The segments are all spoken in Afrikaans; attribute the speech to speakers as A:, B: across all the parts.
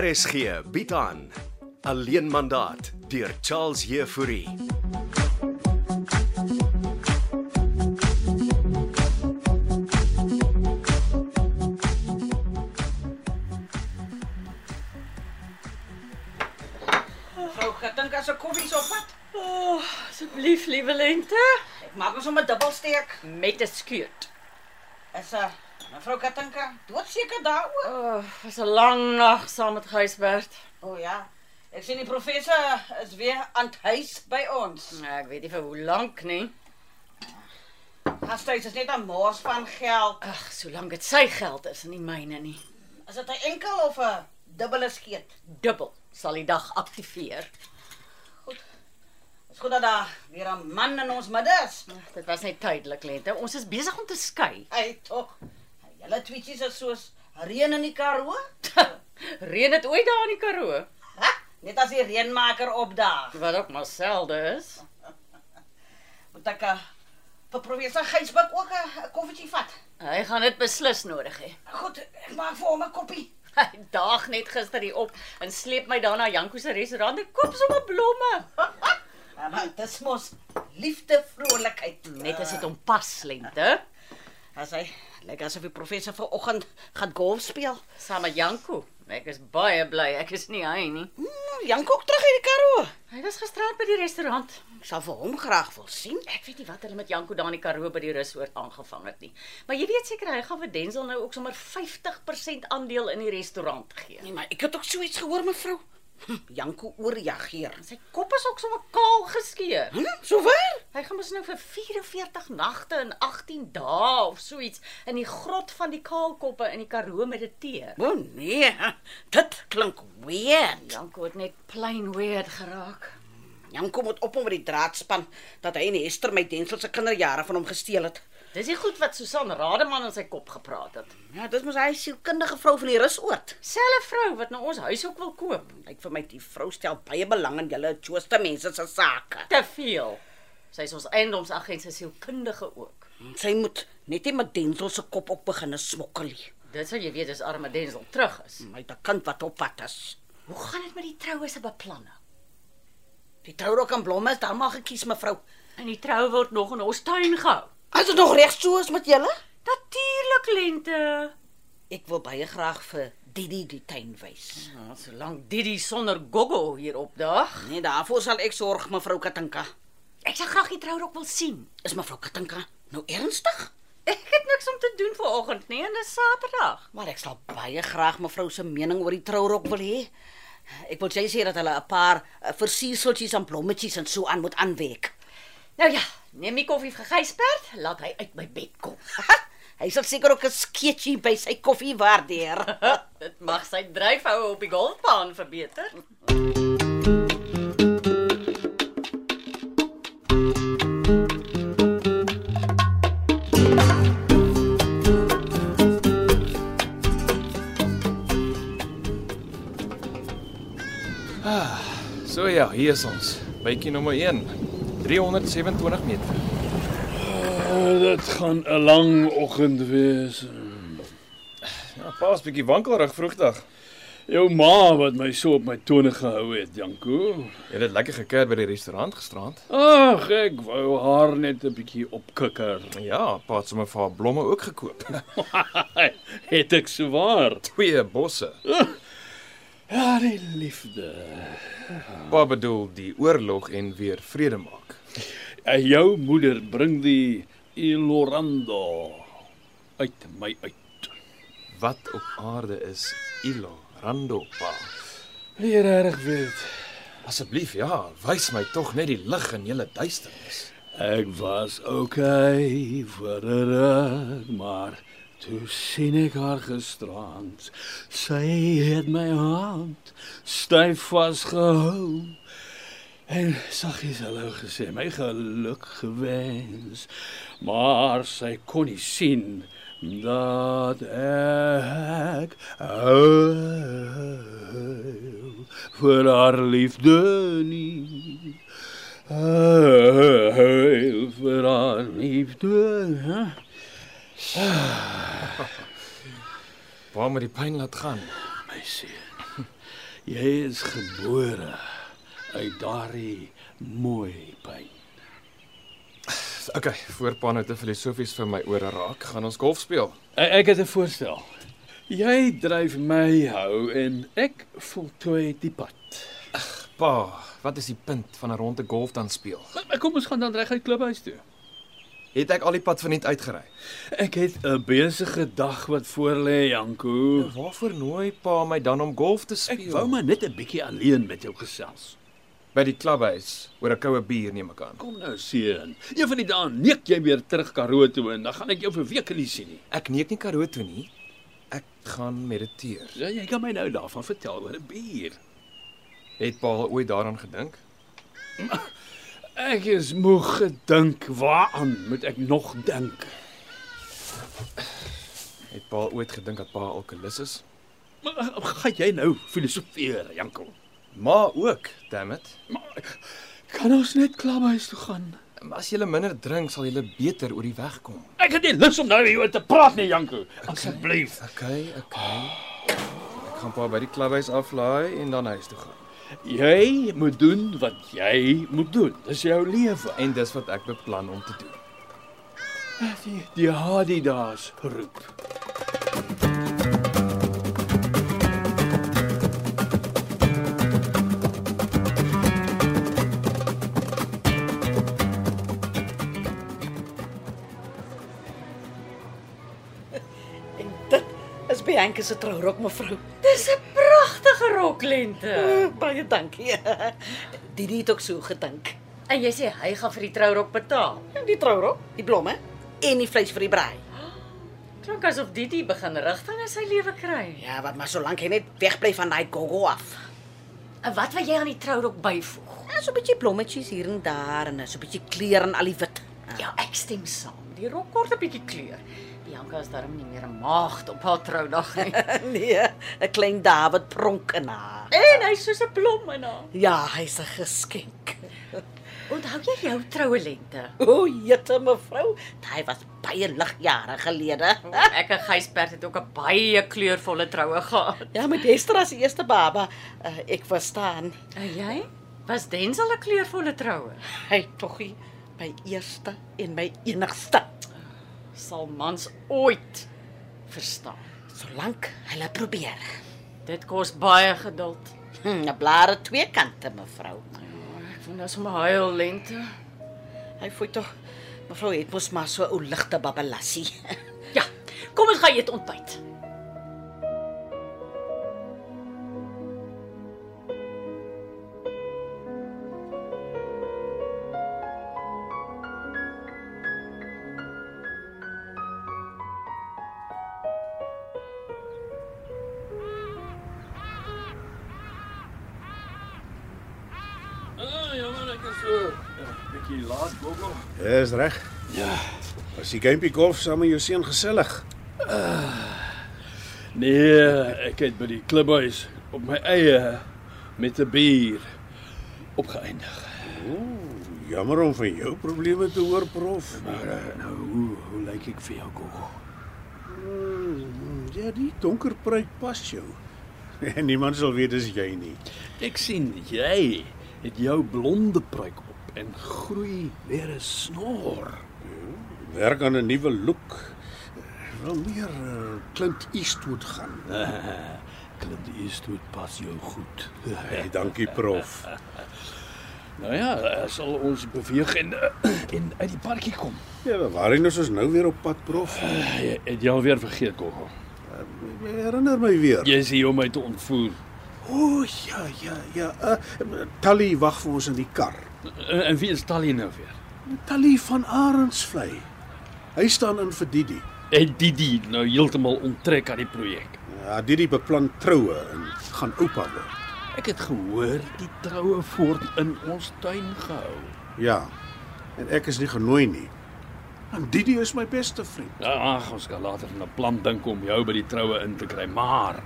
A: RSG bied aan Alleen mandaat deur Charles Heffouri.
B: Vrou, gedink as 'n koffie sou vat.
C: O, oh, asseblief, liewe lente,
B: Ek maak ons sommer dubbelsteek.
C: met 'n skuurt.
B: Is 'n Eh, mevrou Katinka doodseker daaroor?
C: O, oh, was 'n lang nag saam met Gysbert.
B: O oh, ja. Ek sien die professor is weer aan die huis by ons.
C: Ja, ek weet nie vir hoe lank nie.
B: Gastehuis is net 'n mors van geld.
C: Ag, solank dit sy geld is en nie myne nie.
B: Is dit 'n enkel of 'n dubbele skeet?
C: Dubbel sal die dag aktiveer.
B: Is goed dat daar weer 'n man in ons midde is.
C: Ag, dit was net tydelik, lente. Ons is besig om te skei.
B: Hy tog. Julle tweetjies is soos reën in die Karoo.
C: Reën dit ooit daar in die Karoo?
B: Ha, net as die reënmaker opdaag.
C: Wat ook maar selde is.
B: Moet ek eh, vir professor Gysbuk ook 'n 'n koffietjie vat?
C: Hy gaan dit beslis nodig hê.
B: Goed, ek maak vir hom 'n koppie.
C: Hy daag net gister hier op en sleep my daarna Janko se restaurant en koop sommer blomme.
B: Ja, maar dis mos liefde, vrolikheid. Eh,
C: Net as dit hom pas, lente.
B: as hy lyk asof die professor vanoggend gaan golf speel.
C: Saam met Janko. Ek is baie bly ek is nie hy nie.
B: Mm, Janko ook terug uit die Karoo.
C: Hy was gisterand by die restaurant.
B: Ek sal vir hom graag wil sien.
C: Ek weet nie wat hulle met Janko daar in die Karoo by die russoort aangevang het nie. Maar jy weet seker hy gaan vir Denzel nou ook sommer 50% aandeel in die restaurant gee.
B: Nee, maar ek het ook so iets gehoor mevrou. Hm, Janko oorreageer.
C: Sy kop is ook sommer kaal geskeur.
B: Hm, so waar?
C: Hy gaan mos nou vir 44 nagte en 18 dae of so iets in die grot van die kaalkoppe in die Karoo mediteer.
B: O oh, nee, dit klink weird.
C: Janko het net plain weird geraak.
B: Janko moet op hom met die draadspan dat hy en Hester my Denzel se kinderjare van hom gesteel het.
C: Dis nie goed wat Susan Rademan in sy kop gepraat het.
B: Ja, dis mos hy sielkundige vrou van die rusoord.
C: Selfe vrou wat nou ons huis ook wil koop.
B: Lyk vir my die vrou stel baie belang in julle jooste mense se sake.
C: Te veel. Sy is ons eiendomsagent se sielkundige ook.
B: Sy moet net nie met Denzel se kop op begin smokkel nie.
C: Dit sou jy weet as arme Denzel terug is.
B: My te kind wat op pad is.
C: Hoe gaan dit met die troue se beplanning?
B: Die trourok en blomme is daar maar gekies mevrou.
C: En die trou word nog in ons tuin gehou.
B: As dit nog reg so is met julle?
C: Natuurlik lente.
B: Ek wil baie graag vir Didi die tuin wys.
C: Nou, solank Didi sonder Gogo hier opdaag.
B: Nee, daarvoor sal ek sorg mevrou Katinka.
C: Ek sal graag die trourok wil sien.
B: Is mevrou Katinka nou ernstig?
C: Ek het niks om te doen vanoggend nie en dis Saterdag.
B: Maar ek sal baie graag mevrou se mening oor die trourok wil hê. Ek wil sy sê dat hulle 'n paar eh, versierseltjies en blommetjies en so aan moet aanweek.
C: Nou ja, neem die koffie vir Gysbert, laat hy uit my bed kom.
B: Hy sal seker ook 'n skeetjie by sy koffie waardeer.
C: Dit mag sy dryfhoue op die golfbaan verbeter.
D: So ja, hier is ons. Bytjie nommer 1. 327 meter.
E: Oh, dit gaan 'n lang oggend wees.
D: Ja, pa's bietjie wankelrig vroegdag.
E: Jou ma wat my so op my tone gehou het, Janko.
D: Jy het lekker gekuier by die restaurant gisterand.
E: Ag, ek wou haar net 'n bietjie opkikker.
D: Ja, pa het sommer vir haar blomme ook gekoop.
E: het ek swaar.
D: Twee bosse.
E: Ja, die liefde.
D: Pa bedoel die oorlog en weer vrede maak.
E: En jou moeder bring die Ilorando uit my uit.
D: Wat op aarde is Ilo Rando pa?
E: Leer reg weet.
D: Asseblief, ja, wys my tog net die lig in julle duisternis.
E: Ek was okay vir 'n ruk, maar toe sien ek haar gisterand. Sy het my hand styf vasgehou. En saggies hallo gesê, my geluk gewens. Maar sy kon nie sien dat ek huil vir haar liefde nie. Huil vir haar liefde. Hè?
D: Pa moet die pyn laat gaan.
E: My seun. Jy is gebore uit daardie mooi pyn.
D: Okay, voorpan het 'n nou filosofies vir my ore raak. Gaan ons golf speel.
E: Ek, ek het 'n voorstel. Jy dryf my hou en ek voltooi die pad.
D: Pa, wat is die punt van 'n ronde golf dan speel?
E: Maar Kom ons gaan dan reguit klubhuis toe.
D: Het ek al die pad verniet uitgery.
E: Ek het 'n besige dag wat voor lê, Janko.
D: Waarvoor nooi pa my dan om golf te speel?
E: Ek wou maar net 'n bietjie alleen met jou gesels.
D: by die klubhuis oor 'n koue bier neem ek aan.
E: Kom nou seun. Een van die dae neek jy weer terug Karoo toe en dan gaan ek jou vir weke nie sien nie.
D: Ek neek nie Karoo toe nie. Ek gaan mediteer.
E: Ja, jy kan my nou daarvan vertel oor 'n bier.
D: Het pa al ooit daaraan gedink?
E: Ek is moeg gedink, waaraan moet ek nog dink?
D: Het pa al ooit gedink dat pa alkolikus is?
E: Maar uh, gaan jy nou filosofeer, Janko?
D: Ma ook, damn it.
E: Kan ons net klubhuis toe gaan?
D: Maar as jy minder drink, sal jy beter oor die weg kom.
E: Ek het nie lus om nou hieroor te praat nie, Janko. Asseblief.
D: Okay, okay. Ek gaan pa by die klubhuis aflaai en dan huis toe gaan.
E: Jy moet doen wat jy moet doen. Dis jou lewe.
D: En dis wat ek beplan om te doen.
E: Eh, Die, die Hadidas roep.
B: En dit is Bianca se trourok mevrou.
C: Dis 'n pragtige roklente.
B: Uh, baie dankie. Didi het ook so gedink.
C: En jy sê hy gaan vir die trourok betaal.
B: Die trourok, die blomme en die vleis vir die braai.
C: Klink asof Didi begin rigting in sy lewe kry.
B: Ja, wat maar solank hy net wegbly van daai gogo af.
C: En wat wil jy aan die trourok byvoeg?
B: Ja, so 'n bietjie blommetjies hier en daar en so 'n bietjie kleur en al die wit.
C: Ja, ek stem saam. Die rok kort 'n bietjie kleur. Bianca is daarom nie meer 'n maagd op haar troudag nie.
B: nee, 'n klein David pronk in haar.
C: en hy's soos 'n blom in haar.
B: Ja, hy's 'n geskenk.
C: Onthou jy jou troue lente?
B: O, jette mevrou, daai was baie lig jare gelede.
C: Oh, Ek en Gysbert het ook 'n baie kleurvolle troue gehad.
B: Ja, met Hester as die eerste baba, uh, ek verstaan.
C: En jy? Was Denzel 'n kleurvolle troue?
B: Hy togie my eerste en my enigste.
C: Sal mans ooit verstaan.
B: Solank hulle probeer.
C: Dit kos baie geduld. Ja,
B: Hm, 'n blare twee kante mevrou.
C: Ek vind dit sommer huil lente.
B: Hy voel tog mevrou het mos maar so 'n ou ligte babbelassie.
C: Ja, kom ons gaan eet ontbyt.
E: Ah, jammer ek is so 'n bietjie laat, Gogo.
F: Dis reg.
E: Ja.
F: Was die gamepie golf saam met jou seun gesellig?
E: Nee, ek het by die klubhuis op my eie met 'n bier opgeëindig.
F: Jammer om van jou probleme te hoor, prof.
E: Maar eh, nou, hoe, hoe lyk ek vir jou, Gogo?
F: Ja, die donker pruik pas jou. En niemand sal weet dis jy nie.
E: Ek sien jy het jou blonde pruik op en groei weer 'n snor.
F: Werk aan 'n nuwe look. Wel meer eh, Clint Eastwood gaan.
E: Klink die Eastwood pas jou goed.
F: Hey, dankie, prof.
E: Nou ja, eh, sal ons beweeg en eh, en uit die parkie kom.
F: Ja, maar waarheen is ons nou weer op pad, prof?
E: Jy Eh, het jou weer vergeet, Gogo.
F: Herinner my weer.
E: Jy is hier om my te ontvoer.
F: O, oh, ja, ja, ja. Uh, Tally wag vir ons in die kar.
E: En, en wie is Tally nou weer?
F: Tally van Arendsvlei. Hy staan in vir Didi.
E: En Didi nou heeltemal onttrek aan die projek.
F: Ja, Didi beplan troue en gaan oupa word.
E: Ek het gehoor die troue voort in ons tuin gehou.
F: Ja. En ek is nie genooi nie. En Didi is my beste vriend.
E: Nou, ag, ons kan later 'n plan dink om jou by die troue in te kry, maar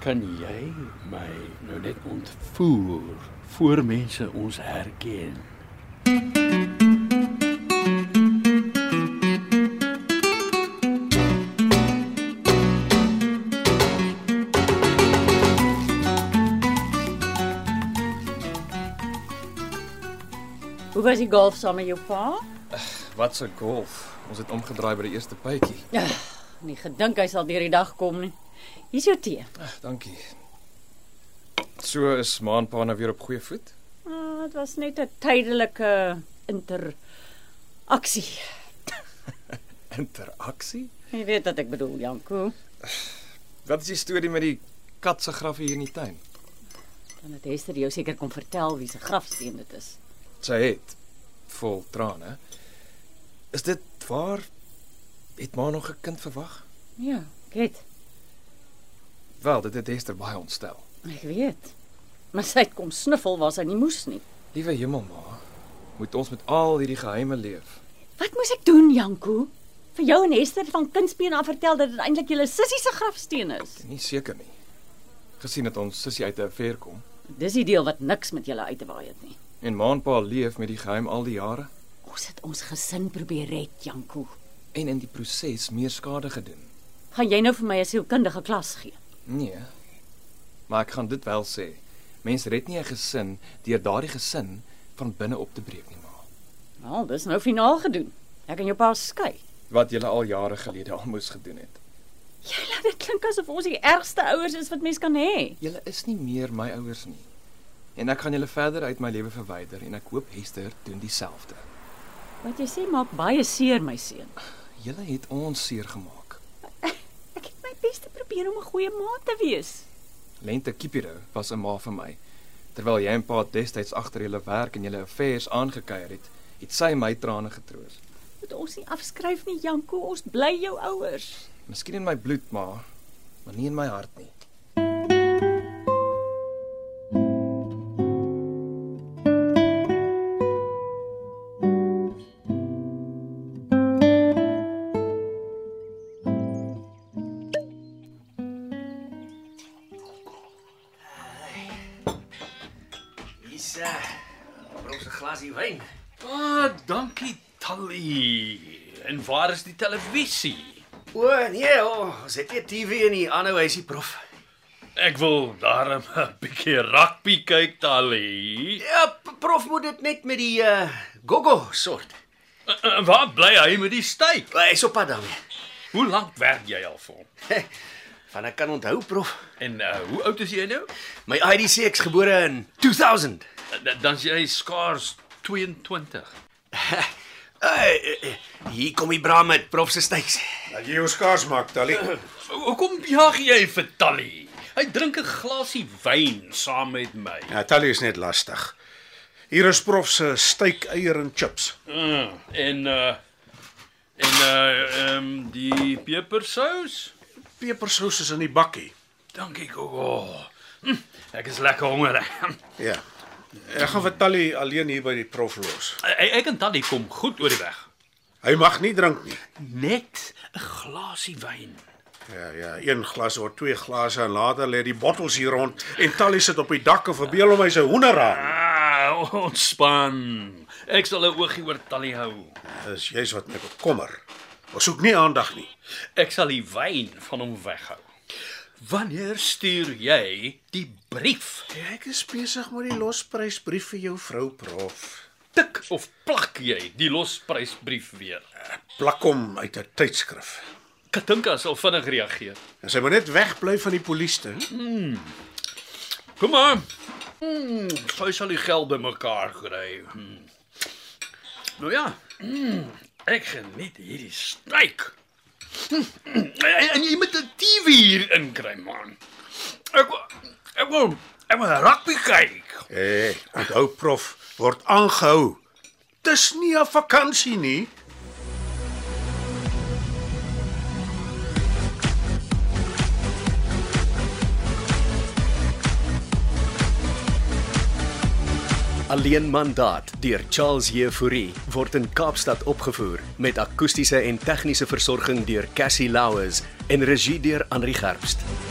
E: kan jy my nou net ontvoer voor mense ons herken?
C: was die golf saam met jou pa?
D: Wat 'n golf. Ons het omgedraai by die eerste pytjie.
C: Ja, Nie gedink hy sal deur die dag kom nie. Hier's jou tee.
D: Ag, dankie. So is maanpa nou weer op goeie voet.
C: Ah, Dit was net 'n tydelike interaksie.
D: Interaksie?
C: Jy weet wat ek bedoel, Janko.
D: Wat is die storie met die kat se graf hier in die tuin?
C: Dan het Hester jou seker kom vertel wie se grafsteen dit is.
D: Sy het vol trane. Is dit waar? Het maar nog 'n kind verwag?
C: Ja, ket.
D: Wel, dit het Hester baie ontstel.
C: Ek weet. Maar sy het kom sniffel waar sy nie moes nie.
D: Liewe hemel ma, moet ons met al hierdie geheime leef?
C: Wat moes ek doen, Janko? Vir jou en Hester van kindsbeen af vertel dat dit eintlik julle sussie se grafsteen is.
D: Nie seker nie. Gesien dat ons sussie uit 'n affair kom
C: Dis die deel wat niks met julle uit te waai het nie.
D: en maanpa leef met die geheim al die jare
C: Ons het ons gesin probeer red, Janko.
D: en in die proses meer skade gedoen.
C: Gaan jy nou vir my 'n sielkundige klas gee?
D: Nee. Maar ek gaan dit wel sê. Mens red nie 'n gesin deur daardie gesin van binne op te breek nie, ma.
C: Wel, dis nou finaal gedoen. Ek en jou pa skei.
D: Wat jy al jare gelede al moes gedoen het.
C: Jy laat dit klink asof ons die ergste ouers is wat mens kan hê.
D: Julle is nie meer my ouers nie. En ek gaan julle verder uit my lewe verwyder en ek hoop Hester doen dieselfde.
C: Wat jy sê maak baie seer, my seun.
D: Julle het ons seer gemaak.
C: Ek het my bes te probeer om 'n goeie ma te wees.
D: Lente Kipiro was 'n ma vir my. Terwyl jy en pa destyds agter julle werk en julle affairs aangekuier het, het sy my trane getroos.
C: Moet ons nie afskryf nie, Janko. Ons bly jou ouers.
D: Miskien in my bloed, maar maar nie in my hart nie.
G: Hier's 'n brosse glasie wyn.
E: Ah, dankie Tally. En waar is die televisie?
G: O nee, o, ons het nie TV in die aanhou huisie prof.
E: Ek wil daarom 'n bietjie rugby kyk, Tally.
G: Ja, p- prof moet dit net met die uh gogo sort.
E: Uh, uh, Waar bly hy met die styk?
G: Hy is op pad daarmee.
E: Hoe lank werk jy al vir hom?
G: Van ek kan onthou prof.
E: En uh, hoe oud is jy nou?
G: My ID sê ek's gebore in 2000.
E: Uh, Dan is jy skaars 22.
G: Uh, Eh, hier kom die bra met prof se styks.
F: Dat jy jou skaars maak, Tally.
E: Ho- Hoekom jag jy vir Tally? Hy drink 'n glasie wyn saam met my.
F: Ja, Tally is net lastig. Hier is prof se steak eier en chips.
E: Uh, en uh en uh ehm um, die pepersous?
F: Pepersous is in die bakkie.
E: Dankie Gogo. Hm, ek is lekker Hm, honger.
F: Ja. Ek gaan vir Tally alleen hier by die prof los.
E: e-, Ek, ek en Tally kom goed oor die weg.
F: Hy mag nie drink nie.
E: Net 'n glasie wyn.
F: Ja, ja, een glas of twee glase en later lê die bottels hier rond en Tally sit op die dak en verbeel hom hy se hoender aan.
E: Ah, ontspan. Ek sal 'n oogie oor Tally hou.
F: Dis juis wat my bekommer. Ons soek nie aandag nie.
E: Ek sal die wyn van hom weghou. Wanneer stuur jy die brief?
F: Ek is besig met die losprysbrief vir jou vrou prof.
E: Tik of plak jy die losprysbrief weer?
F: Plak hom uit 'n tydskrif.
E: Katinka sal vinnig reageer.
F: En sy moet net wegbly van die polisie.
E: Kom maar. Mm, sy sal die geld bymekaar kry. Mm. Nou ja. Mm, ek geniet hierdie steak. Mm, en, en jy moet 'n TV hier inkry man. Ek wil- ek wil ek wil rugby kyk.
F: Hey, onthou prof word aangehou. Dis nie 'n vakansie nie.
A: Alleen mandaat deur Charles Jefouri word in Kaapstad opgevoer met akoestiese en tegniese versorging deur Cassie Louws en regie deur Henri Gerst.